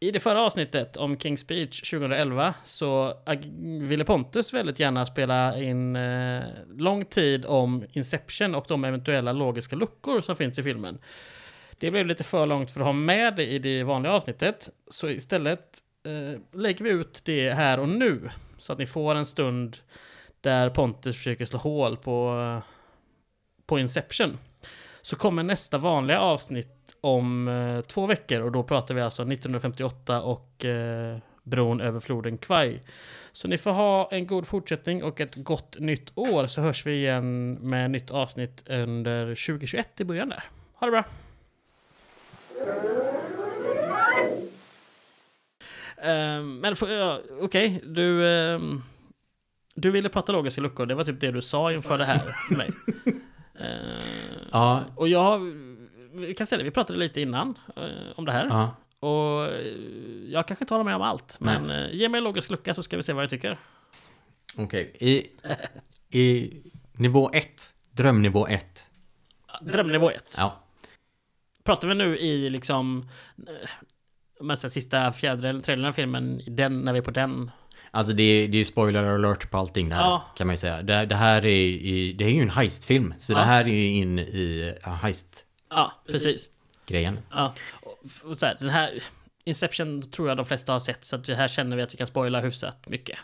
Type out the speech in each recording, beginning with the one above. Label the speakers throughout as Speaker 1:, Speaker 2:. Speaker 1: I det förra avsnittet om King's Speech 2011 så ag- ville Pontus väldigt gärna spela in eh, lång tid om Inception och de eventuella logiska luckor som finns i filmen. Det blev lite för långt för att ha med det i det vanliga avsnittet, så istället eh, lägger vi ut det här och nu så att ni får en stund där Pontus försöker slå hål på, på Inception. Så kommer nästa vanliga avsnitt om eh, två veckor och då pratar vi alltså 1958 och eh, bron över floden Kwai. Så ni får ha en god fortsättning och ett gott nytt år så hörs vi igen med nytt avsnitt under 2021 i början där. Ha det bra! Ehm, men får jag- okej, du... ehm, du ville prata logiska luckor, det var typ det du sa inför det här för mig. Ehm,
Speaker 2: Ja,
Speaker 1: och jag har- vi kan säga det, vi pratade lite innan eh, om det här.
Speaker 2: ja.
Speaker 1: Och eh, jag kanske inte håller med om allt, men eh, ge mig en logisk lucka så ska vi se vad jag tycker.
Speaker 2: Okej. I, I nivå 1. Drömnivå 1.
Speaker 1: Drömnivå 1.
Speaker 2: Ja.
Speaker 1: Pratar vi nu i liksom, eh, men sen sista fjärdedelen, tredjedelen av filmen, i den, när vi är på den.
Speaker 2: Alltså det är, det är spoiler alert på allting det här.
Speaker 1: Ja.
Speaker 2: Kan man ju säga. Det, det här är, i, det är ju en heistfilm. Så det här är ju in i ja, heistgrejen.
Speaker 1: Ja, precis. Ja. Och- Och så här, den här Inception tror jag de flesta har sett, så att det här känner vi att vi kan spoila hyfsat mycket.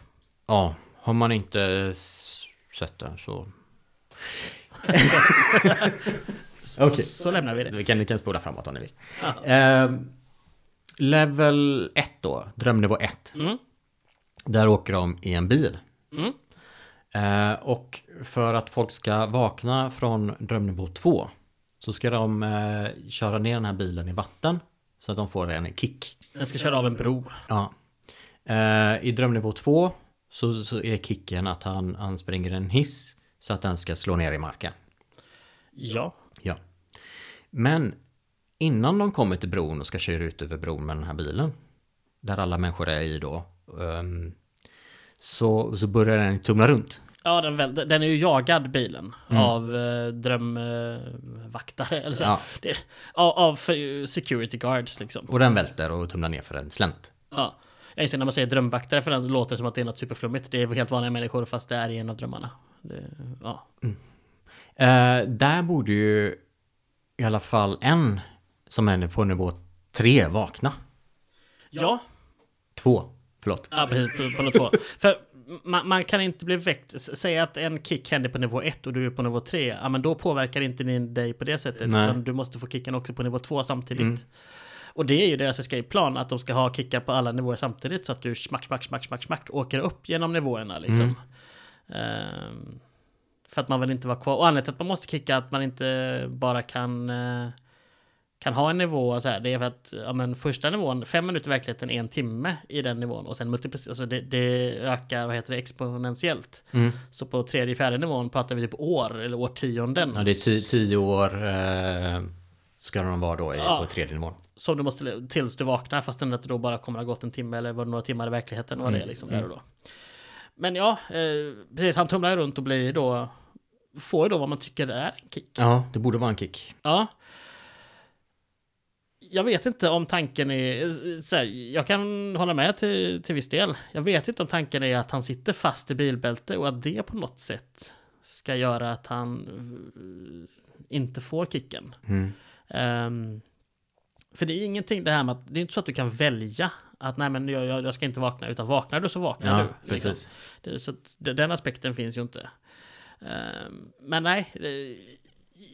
Speaker 2: Ja. Har man inte s- sett den så... Okej.
Speaker 1: Så lämnar vi det.
Speaker 2: Vi kan, ni kan spola framåt om ni vill.
Speaker 1: Ja.
Speaker 2: Ehm, level 1 då, drömnivå 1.
Speaker 1: Mm.
Speaker 2: Där åker de i en bil.
Speaker 1: Mm.
Speaker 2: Eh, och för att folk ska vakna från drömnivå 2 så ska de eh, köra ner den här bilen i vatten så att de får en kick.
Speaker 1: Den ska köra av en bro.
Speaker 2: Ja. Eh, I drömnivå 2 så, så är kicken att han, han springer en hiss så att den ska slå ner i marken.
Speaker 1: Ja.
Speaker 2: Ja. Men innan de kommer till bron och ska köra ut över bron med den här bilen, där alla människor är i då, ehm, så, så börjar den tumla runt.
Speaker 1: Ja, den, väl, den är ju jagad bilen av eh, drömvaktare. eller så.
Speaker 2: Mm. Ja.
Speaker 1: Det, av, av eh, security guards liksom.
Speaker 2: Och den välter och tumlar ner för en slänt.
Speaker 1: Ja. Jag inser när man säger drömvaktare för den låter det som att det är något superflummigt. Det är helt vanliga människor fast det är i en av drömmarna. Det, ja.
Speaker 2: Eh, där borde ju i alla fall en som är på nivå tre vakna.
Speaker 1: ja,
Speaker 2: Två, förlåt.
Speaker 1: Ja, precis. På, på nivå två. För man, man kan inte bli väckt. S- Säg att en kick händer på nivå ett och du är på nivå tre. Ja, men då påverkar inte din dig på det sättet.
Speaker 2: Nej.
Speaker 1: Utan du måste få kicken också på nivå två samtidigt. Och det är ju deras escape-plan, att de ska ha kickar på alla nivåer samtidigt så att du smack, smack, smack, smack, smack åker upp genom nivåerna liksom. Ehm, för att man vill inte vara kvar. Och anledningen till att man måste kicka är att man inte bara kan eh, kan ha en nivå så här, det är för att ja, men första nivån, fem minuter i verkligheten är en timme i den nivån och sen multiplicerar, alltså det, det ökar, vad heter det, exponentiellt.
Speaker 2: Mm.
Speaker 1: Så på tredje, fjärde nivån pratar vi typ år eller årtionden.
Speaker 2: Ja, det är ti- tio år eh, ska de vara då i,
Speaker 1: Ja.
Speaker 2: på tredje nivån.
Speaker 1: Som du måste, tills du vaknar fastän att det då bara kommer att ha gått en timme eller var det några timmar i verkligheten
Speaker 2: Mm.
Speaker 1: vad det är liksom där och då. Men ja, eh, precis, han tumlar ju runt och blir då, får ju då vad man tycker är en kick.
Speaker 2: Ja, det borde vara en kick.
Speaker 1: Ja. Jag vet inte om tanken är... Så här, jag kan hålla med till, till viss del. Jag vet inte om tanken är att han sitter fast i bilbälte och att det på något sätt ska göra att han eh, inte får kicken.
Speaker 2: Mm.
Speaker 1: Ehm, för det är ingenting det här med att det är inte så att du kan välja att nej men jag, jag, jag ska inte vakna utan vaknar du så vaknar
Speaker 2: Ja,
Speaker 1: du. liksom.
Speaker 2: precis.
Speaker 1: Det, så att, de- den aspekten finns ju inte. Ehm, men nej, eh,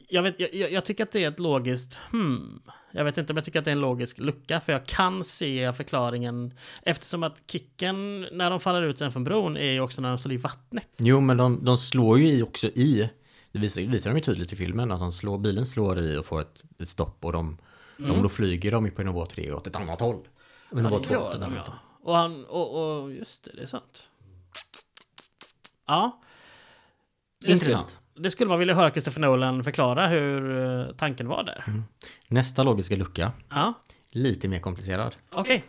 Speaker 1: jag, vet, jag, jag- jag tycker att det är ett logiskt hmm. Jag vet inte om jag tycker att det är en logisk lucka, för jag kan se förklaringen eftersom att kicken när de faller ut sen från bron är ju också när de står i vattnet.
Speaker 2: Jo, men de, de slår ju i också i. Det visar, visar de ju tydligt i filmen att de slår, bilen slår i och får ett, ett stopp och de, de då flyger de ju på nivå 3 åt ett annat håll. Men nivå
Speaker 1: Mm. det
Speaker 2: 2
Speaker 1: gör
Speaker 2: åt ett
Speaker 1: de,
Speaker 2: annat.
Speaker 1: ja. Och, han, och, och just det, det är sant. Ja. Det
Speaker 2: Intressant.
Speaker 1: Skulle, det skulle man vilja höra Christopher Nolan förklara hur eh, tanken var där.
Speaker 2: Nästa logiska lucka,
Speaker 1: Ja,
Speaker 2: lite mer komplicerad.
Speaker 1: okej.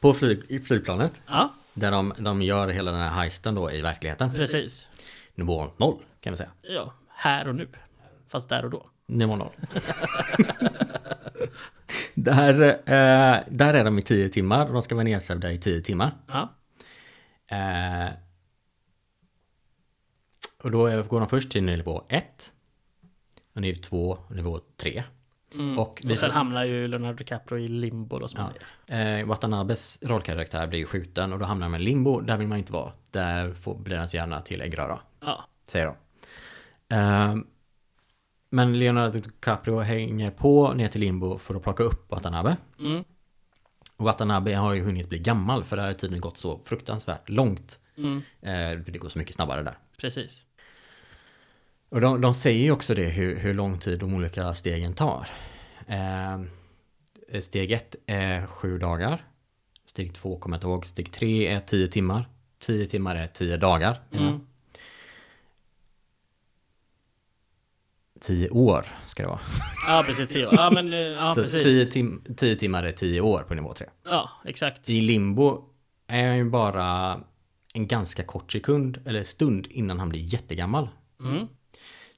Speaker 2: På flyg, i flygplanet,
Speaker 1: Ja,
Speaker 2: där de, de gör hela den här heisten då i verkligheten.
Speaker 1: precis.
Speaker 2: Nivå 0 kan vi säga.
Speaker 1: Ja, här och nu. Fast där och då.
Speaker 2: Nivå noll. där, eh, där är de i 10 timmar. De ska vara nedsövda i 10 timmar.
Speaker 1: Ja.
Speaker 2: Eh, och då är- går de först till nivå 1. Nivå 2 och nivå 3. Och, vi,
Speaker 1: Och sen hamnar ju Leonardo DiCaprio i limbo då som man säger.
Speaker 2: eh, Watanabes rollkaraktär blir ju skjuten och då hamnar man i limbo. Där vill man inte vara. Där får, blir hans hjärna till äggröra.
Speaker 1: Ja.
Speaker 2: Säger de. Eh, men Leonardo DiCaprio hänger på ner till limbo för att plocka upp Watanabe.
Speaker 1: Mm.
Speaker 2: Och Watanabe har ju hunnit bli gammal för där har tiden gått så fruktansvärt långt.
Speaker 1: Mm.
Speaker 2: Eh, för det går så mycket snabbare där.
Speaker 1: Precis.
Speaker 2: Och de, de säger ju också det hur, hur lång tid de olika stegen tar. Eh, steg ett är sju dagar. Steg två kommer jag inte ihåg. Steg tre är tio timmar. Tio timmar är tio dagar.
Speaker 1: Mm.
Speaker 2: Tio år ska det vara.
Speaker 1: Ja, precis. Tio år. Ja, men eh, ja,
Speaker 2: Så
Speaker 1: precis.
Speaker 2: tio, tim- tio timmar är tio år på nivå tre.
Speaker 1: Ja, exakt.
Speaker 2: I limbo är han ju bara en ganska kort sekund eller stund innan han blir jättegammal.
Speaker 1: Mm.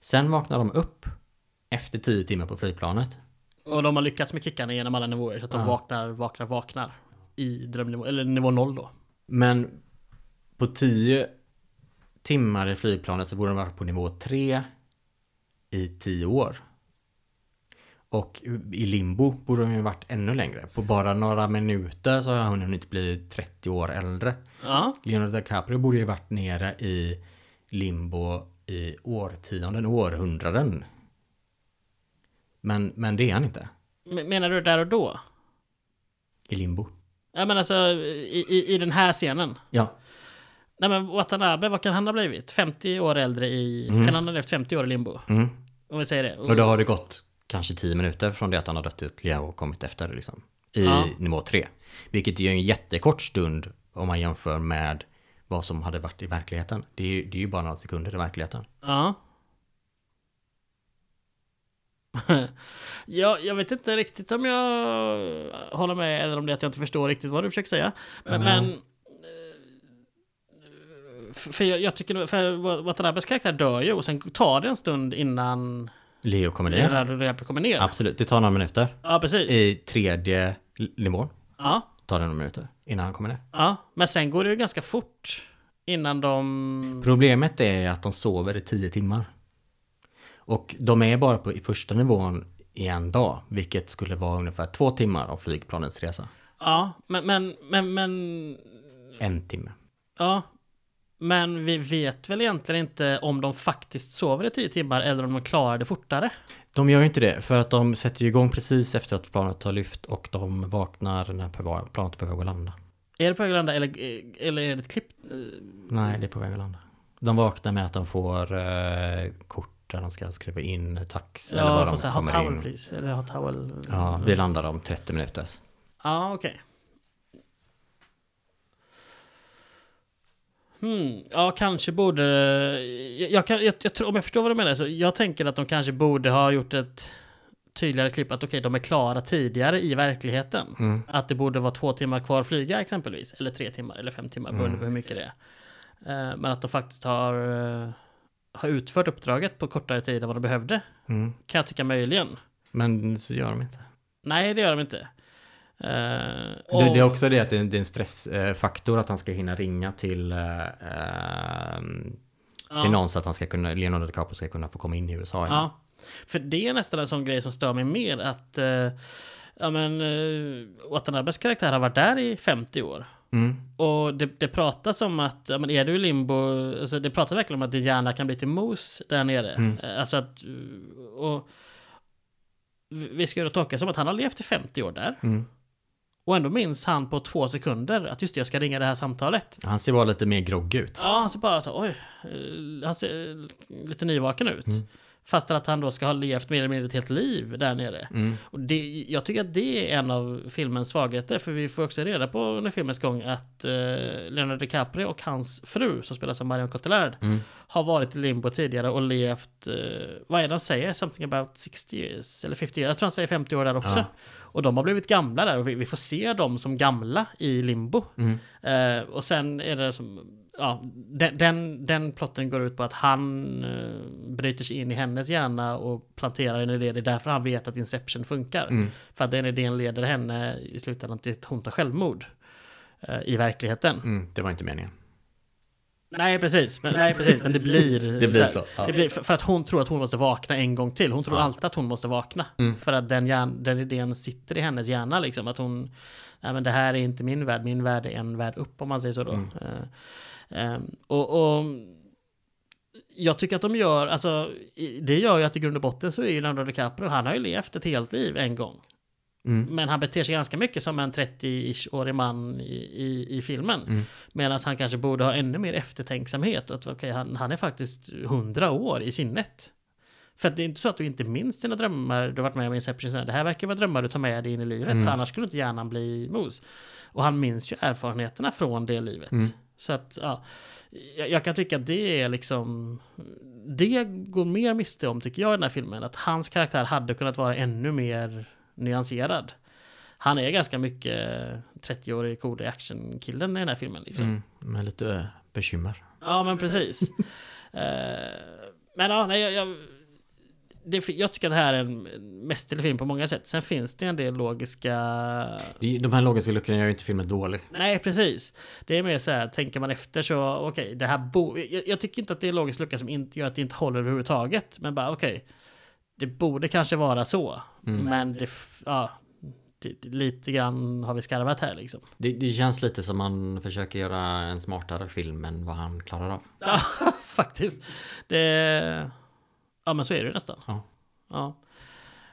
Speaker 2: Sen vaknar de upp efter tio timmar på flygplanet.
Speaker 1: Och de har lyckats med kickarna genom alla nivåer så att de vaknar, vaknar, vaknar. I drömnivå, eller nivå noll då.
Speaker 2: Men på 10 timmar i flygplanet så borde de varit på nivå 3 i 10 år. Och i limbo borde de ju varit ännu längre. På bara några minuter så har han hunnit bli 30 år äldre.
Speaker 1: Ja,
Speaker 2: Leonardo DiCaprio borde ju varit nere i limbo i årtionden, århundraden. Men, men det är han inte.
Speaker 1: Men- menar du där och då?
Speaker 2: I limbo.
Speaker 1: Ja, men alltså i, i, i den här scenen.
Speaker 2: Ja,
Speaker 1: Nej men Watanabe, vad kan han ha blivit? 50 år äldre i... Kan han ha levt 50 år i limbo?
Speaker 2: mm.
Speaker 1: Om vi säger det. Och,
Speaker 2: Och då har det gått kanske 10 minuter från det att han har dött ytterligare och kommit efter liksom, i
Speaker 1: Ja.
Speaker 2: nivå 3. Vilket är en jättekort stund om man jämför med vad som hade varit i verkligheten. Det är ju, det är ju bara några sekunder i verkligheten.
Speaker 1: Ja. ja, jag vet inte riktigt om jag håller med eller om det är att jag inte förstår riktigt vad du försöker säga. Men... men eh, f- för jag, jag tycker nog- för Watanabes karaktär dör ju och sen tar det en stund innan
Speaker 2: Leo kommer ner.
Speaker 1: Leonardo DiCaprio kommer ner. Ja,
Speaker 2: Absolut, det tar några minuter.
Speaker 1: precis.
Speaker 2: I tredje l- nivån
Speaker 1: Ja,
Speaker 2: tar det några minuter innan han kommer ner.
Speaker 1: ja. Men sen går det ju ganska fort innan de...
Speaker 2: Problemet är att de sover i 10 timmar. Och de är bara på i första nivån i en dag, vilket skulle vara ungefär två timmar av flygplanens resa.
Speaker 1: Ja, men, men, men, men
Speaker 2: En timme.
Speaker 1: Ja, men vi vet väl egentligen inte om de faktiskt sover i tio timmar eller om de klarar det fortare.
Speaker 2: De gör ju inte det, för att de sätter ju igång precis efter att planet har lyft och de vaknar när pe- planet är på väg att landa.
Speaker 1: Är det på Öglanda eller, eller är det ett klipp?
Speaker 2: Nej, det är på väg att landa. De vaknar med att de får eh, kort där de ska skriva in tax eller vad
Speaker 1: ja,
Speaker 2: de
Speaker 1: fast det har
Speaker 2: kommer
Speaker 1: towel
Speaker 2: in.
Speaker 1: please. Eller har towel...
Speaker 2: Ja, vi landar om 30 minuter.
Speaker 1: Ja, okej. Hmm, ja, kanske borde... Jag, jag, kan, jag, jag, tror- om jag förstår vad du menar så jag tänker att de kanske borde ha gjort ett tydligare klipp att okej, de är klara tidigare i verkligheten. Att det borde vara två timmar kvar att flyga exempelvis. Eller tre timmar, eller fem timmar, beroende
Speaker 2: Mm.
Speaker 1: på hur mycket det är. Eh, Men att de faktiskt har, eh, har utfört uppdraget på kortare tid än vad de behövde.
Speaker 2: Mm.
Speaker 1: Kan jag tycka möjligen.
Speaker 2: Men så gör de inte.
Speaker 1: Nej, det gör de inte. Eh,
Speaker 2: Det,
Speaker 1: och-
Speaker 2: det är också det att det är en, det är en stressfaktor att han ska hinna ringa till, eh, eh, till någon så att han ska kunna, Leonardo DiCaprio ska kunna få komma in i USA. igen.
Speaker 1: Ja. För det är nästan en sån grej som stör mig mer att eh, ja, men, eh, Watanabes karaktär har varit där i 50 år.
Speaker 2: Mm.
Speaker 1: Och det, det pratas om att, ja, men är du i limbo, alltså, det pratas verkligen om att din hjärna kan bli till mos där nere. Eh, Alltså att, eh, och vi vi ska ju då tolka som att han har levt i 50 år där.
Speaker 2: Mm.
Speaker 1: Och ändå minns han på två sekunder att just det, jag ska ringa det här samtalet.
Speaker 2: Han ser bara lite mer grogg ut.
Speaker 1: Ja, han ser bara så, oj, eh, han ser eh, lite nyvaken ut. Fastän att han då ska ha levt mer eller mindre ett helt liv där nere. Och det, jag tycker att det är en av filmens svagheter, för vi får också reda på under filmens gång att eh, Leonardo DiCaprio och hans fru, som spelas av Marion Cotillard, har varit i limbo tidigare och levt, eh, vad är det han säger? Something about 60 years, eller 50 years, jag tror han säger 50 år där också. Och de har blivit gamla där och vi, vi får se dem som gamla i limbo. Eh, och sen är det som ja, den, den, den plotten går ut på att han eh, bryter sig in i hennes hjärna och planterar en idé. Det är därför han vet att Inception funkar.
Speaker 2: Mm.
Speaker 1: För att den idén leder henne i slutändan till att hon tar självmord. eh, I verkligheten.
Speaker 2: Mm, det var inte meningen.
Speaker 1: Nej precis, men, nej, precis. men det blir
Speaker 2: Det blir
Speaker 1: här.
Speaker 2: så, ja.
Speaker 1: Det blir, för, för att hon tror att hon måste vakna en gång till. Hon tror
Speaker 2: Ja.
Speaker 1: alltid att hon måste vakna.
Speaker 2: Mm.
Speaker 1: För att den, hjärn, den idén sitter i hennes hjärna. Liksom, att hon, nej men det här är inte min värld, min värld är en värld upp om man säger så då.
Speaker 2: Mm.
Speaker 1: Eh, ehm, och, och jag tycker att de gör, alltså i- det gör ju att i grund och botten så är ju Leonardo DiCaprio, han har ju levt ett helt liv en gång.
Speaker 2: Mm.
Speaker 1: Men han beter sig ganska mycket som en 30-ish-årig man i, i, i filmen.
Speaker 2: Mm.
Speaker 1: Medan han kanske borde ha ännu mer eftertänksamhet. Att, okej, han, han är faktiskt 100 år i sinnet. För att det är inte så att du inte minns dina drömmar du har varit med om i Inception. sen. Det här verkar vara drömmar du tar med dig in i livet.
Speaker 2: Mm.
Speaker 1: För annars skulle inte hjärnan bli mos. Och han minns ju erfarenheterna från det livet.
Speaker 2: Mm.
Speaker 1: Så att, ja. Jag, jag kan tycka att det är liksom... Det går mer miste om, tycker jag, i den här filmen. Att hans karaktär hade kunnat vara ännu mer nyanserad. Han är ganska mycket 30-årig cool action-killen i den här filmen. Liksom.
Speaker 2: Mm. Med lite ö, bekymmer.
Speaker 1: Ja, men precis. Eh, men ja, nej, jag, jag, det, fi- jag tycker att det här är en en mästerlig film på många sätt. Sen finns det en del logiska...
Speaker 2: Det- De här logiska luckorna gör ju inte filmen dålig.
Speaker 1: Nej, precis. Det är mer så här, tänker man efter så, okej, det här bo... jag, jag tycker inte att det är en logisk lucka som inte gör att det inte håller överhuvudtaget. Men bara, okej, det borde kanske vara så. Men det, f- ja, det, det, lite grann har vi skarvat här liksom.
Speaker 2: Det, det känns lite som man försöker göra en smartare film än vad han klarar av.
Speaker 1: Ja, faktiskt. Det... Ja, men så är det ju nästan.
Speaker 2: Ja.
Speaker 1: Ja.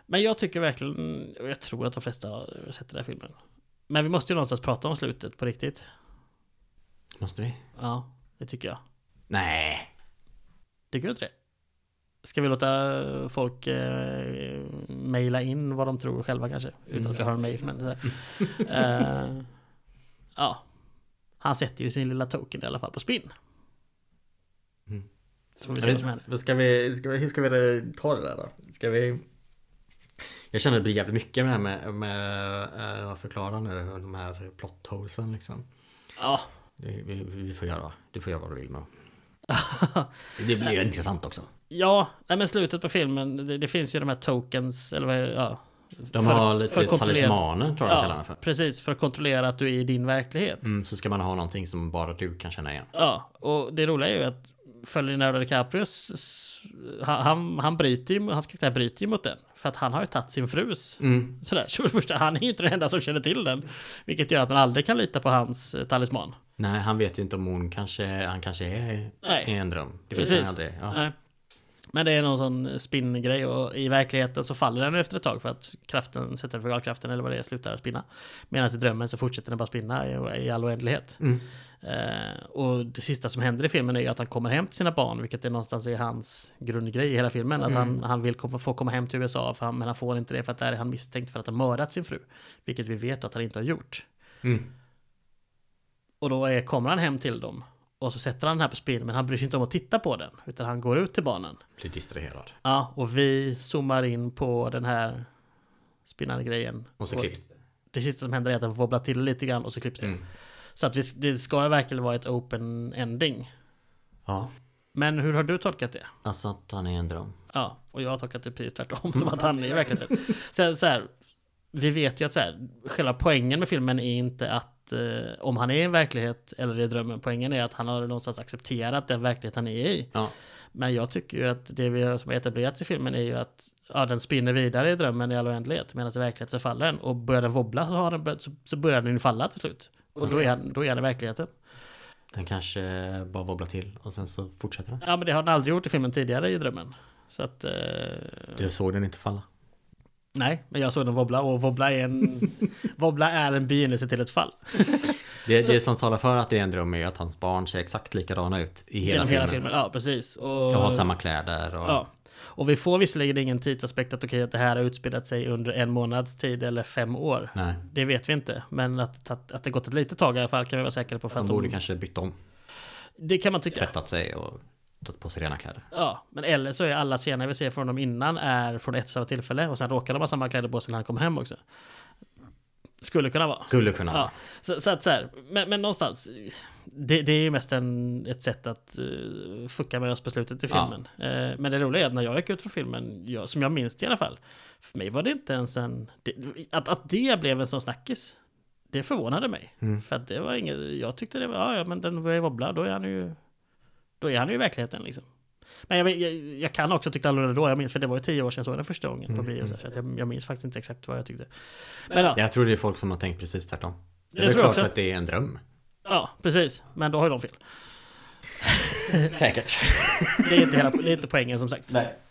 Speaker 1: Men jag tycker verkligen, och jag tror att de flesta har sett den här filmen. Men vi måste ju någonstans prata om slutet på riktigt.
Speaker 2: Måste vi?
Speaker 1: Ja, det tycker jag.
Speaker 2: Nej.
Speaker 1: Tycker du inte det? Ska vi låta folk eh, mejla in vad de tror själva kanske? Utan
Speaker 2: Mm.
Speaker 1: att jag har en mejl, men sådär. eh, Ja. Han sätter ju sin lilla token i alla fall på spinn.
Speaker 2: Mm.
Speaker 1: Så får vi se vad som händer.
Speaker 2: Ska vi, ska vi, hur ska vi ta det där då? Ska vi... Jag känner att det blir jävligt mycket med det här med, med eh, att förklara nu de här plot holesen liksom.
Speaker 1: Ja,
Speaker 2: Vi, vi, vi får göra. Du får göra vad du vill med. Det blir ju intressant också.
Speaker 1: Ja, nej men slutet på filmen, det, det finns ju de här tokens, eller vad ja,
Speaker 2: De
Speaker 1: för-
Speaker 2: har
Speaker 1: för
Speaker 2: lite
Speaker 1: att kontrollera-
Speaker 2: talismaner tror jag de kallar
Speaker 1: Ja,
Speaker 2: det för.
Speaker 1: precis, för att kontrollera att du är i din verklighet.
Speaker 2: Mm, så ska man ha någonting som bara du kan känna igen.
Speaker 1: Ja, och det roliga är ju att följer Leonardo DiCaprio, s- s- han, han, han bryter ju, hans karaktär bryter ju mot den. För att han har ju tagit sin frus.
Speaker 2: Mm.
Speaker 1: Sådär, så för det första, han är ju inte den enda som känner till den. Vilket gör att man aldrig kan lita på hans eh, talisman.
Speaker 2: Nej, han vet ju inte om hon kanske, han kanske är
Speaker 1: Nej.
Speaker 2: i en dröm. Det vet
Speaker 1: Precis.
Speaker 2: han aldrig. Ja.
Speaker 1: Nej. Men det är någon sån spinngrej och i verkligheten så faller den efter ett tag för att kraften, centrifugalkraften eller vad det är, slutar spinna. Medan i drömmen så fortsätter den bara spinna i, i all oändlighet.
Speaker 2: Mm.
Speaker 1: Eh, och det sista som händer i filmen är ju att han kommer hem till sina barn, vilket är någonstans är hans grundgrej i hela filmen. Att
Speaker 2: Mm.
Speaker 1: han, han vill komma, få komma hem till USA, för han, men han får inte det för att där är han misstänkt för att ha mördat sin fru. Vilket vi vet att han inte har gjort.
Speaker 2: Mm.
Speaker 1: Och då är, kommer han hem till dem. Och så sätter han den här på spinn, men han bryr sig inte om att titta på den. Utan han går ut till barnen.
Speaker 2: Blir distraherad.
Speaker 1: Ja, och vi zoomar in på den här spinnande grejen.
Speaker 2: Och så klipps det.
Speaker 1: Det sista som händer är att den wobblar till lite grann och så klipps det.
Speaker 2: Mm.
Speaker 1: Så att vi, det ska ju verkligen vara ett open ending.
Speaker 2: Ja.
Speaker 1: Men hur har du tolkat det?
Speaker 2: Alltså att han är en dröm.
Speaker 1: Ja, och jag har tolkat det precis tvärtom. Som att han är i verkligheten. Sen så här, vi vet ju att så här, själva poängen med filmen är inte att eh, om han är i en verklighet eller i drömmen. Poängen är att han har någonstans accepterat den verklighet han är i.
Speaker 2: Ja.
Speaker 1: Men jag tycker ju att det vi har, som har etablerats i filmen är ju att ja, den spinner vidare i drömmen i all oändlighet. Medan i verkligheten så faller den. Och börjar den wobbla så, har den, bör- så, så börjar den ju falla till slut. Och då är, han, då är han i verkligheten.
Speaker 2: Den kanske bara wobblar till och sen så fortsätter den.
Speaker 1: Ja men det har den aldrig gjort i filmen tidigare i drömmen. Så att... Eh,
Speaker 2: Du såg den inte falla.
Speaker 1: Nej, men jag såg den wobbla och wobbla är en, wobbla är en begynnelse till ett fall.
Speaker 2: Det, det som talar för att det är en dröm är ju att hans barn ser exakt likadana ut i hela
Speaker 1: Genom
Speaker 2: filmen.
Speaker 1: hela filmen. Ja, precis. Och,
Speaker 2: Och har samma kläder och...
Speaker 1: ja. och vi får visserligen ingen tidsaspekt att okej att det här har utspelat sig under en månads tid eller fem år.
Speaker 2: Nej.
Speaker 1: Det vet vi inte, men att, att, att det gått ett litet tag i alla fall kan vi vara säkra på. För
Speaker 2: De
Speaker 1: att
Speaker 2: borde
Speaker 1: de,
Speaker 2: kanske bytt om,
Speaker 1: det kan man tycka.
Speaker 2: tvättat sig och tagit på sig rena kläder.
Speaker 1: Ja, men eller så är alla scener vi ser från dem innan är från ett och samma tillfälle och sen råkar de ha samma kläder på sig när han kommer hem också. Skulle kunna vara.
Speaker 2: Skulle kunna vara.
Speaker 1: Ja. Så, så att så här, men, men någonstans. Det, det är ju mest en, ett sätt att uh, fucka med oss beslutet i
Speaker 2: Ja.
Speaker 1: filmen. Eh, men det roliga är att när jag gick ut från filmen, jag, som jag minns det i alla fall. För mig var det inte ens en... Det, att, att det blev en sån snackis. Det förvånade mig.
Speaker 2: Mm.
Speaker 1: För att det var inget... Jag tyckte det var... Ja, ja men den var ju wobbla. Då är han ju... Då är han ju i verkligheten liksom. Men jag, jag, jag kan också ha tyckt annorlunda då. Jag minns, för det var ju tio år sedan jag såg den första gången
Speaker 2: Mm,
Speaker 1: på bio. Så att jag, jag minns faktiskt inte exakt vad jag tyckte. Men ja.
Speaker 2: Jag tror det är folk som har tänkt precis tvärtom. Det
Speaker 1: Jag
Speaker 2: är
Speaker 1: tror
Speaker 2: klart
Speaker 1: också.
Speaker 2: att det är en dröm.
Speaker 1: Ja, precis. Men då har ju de fel.
Speaker 2: Säkert.
Speaker 1: Det är inte, hela, det är inte poängen som sagt.
Speaker 2: Nej.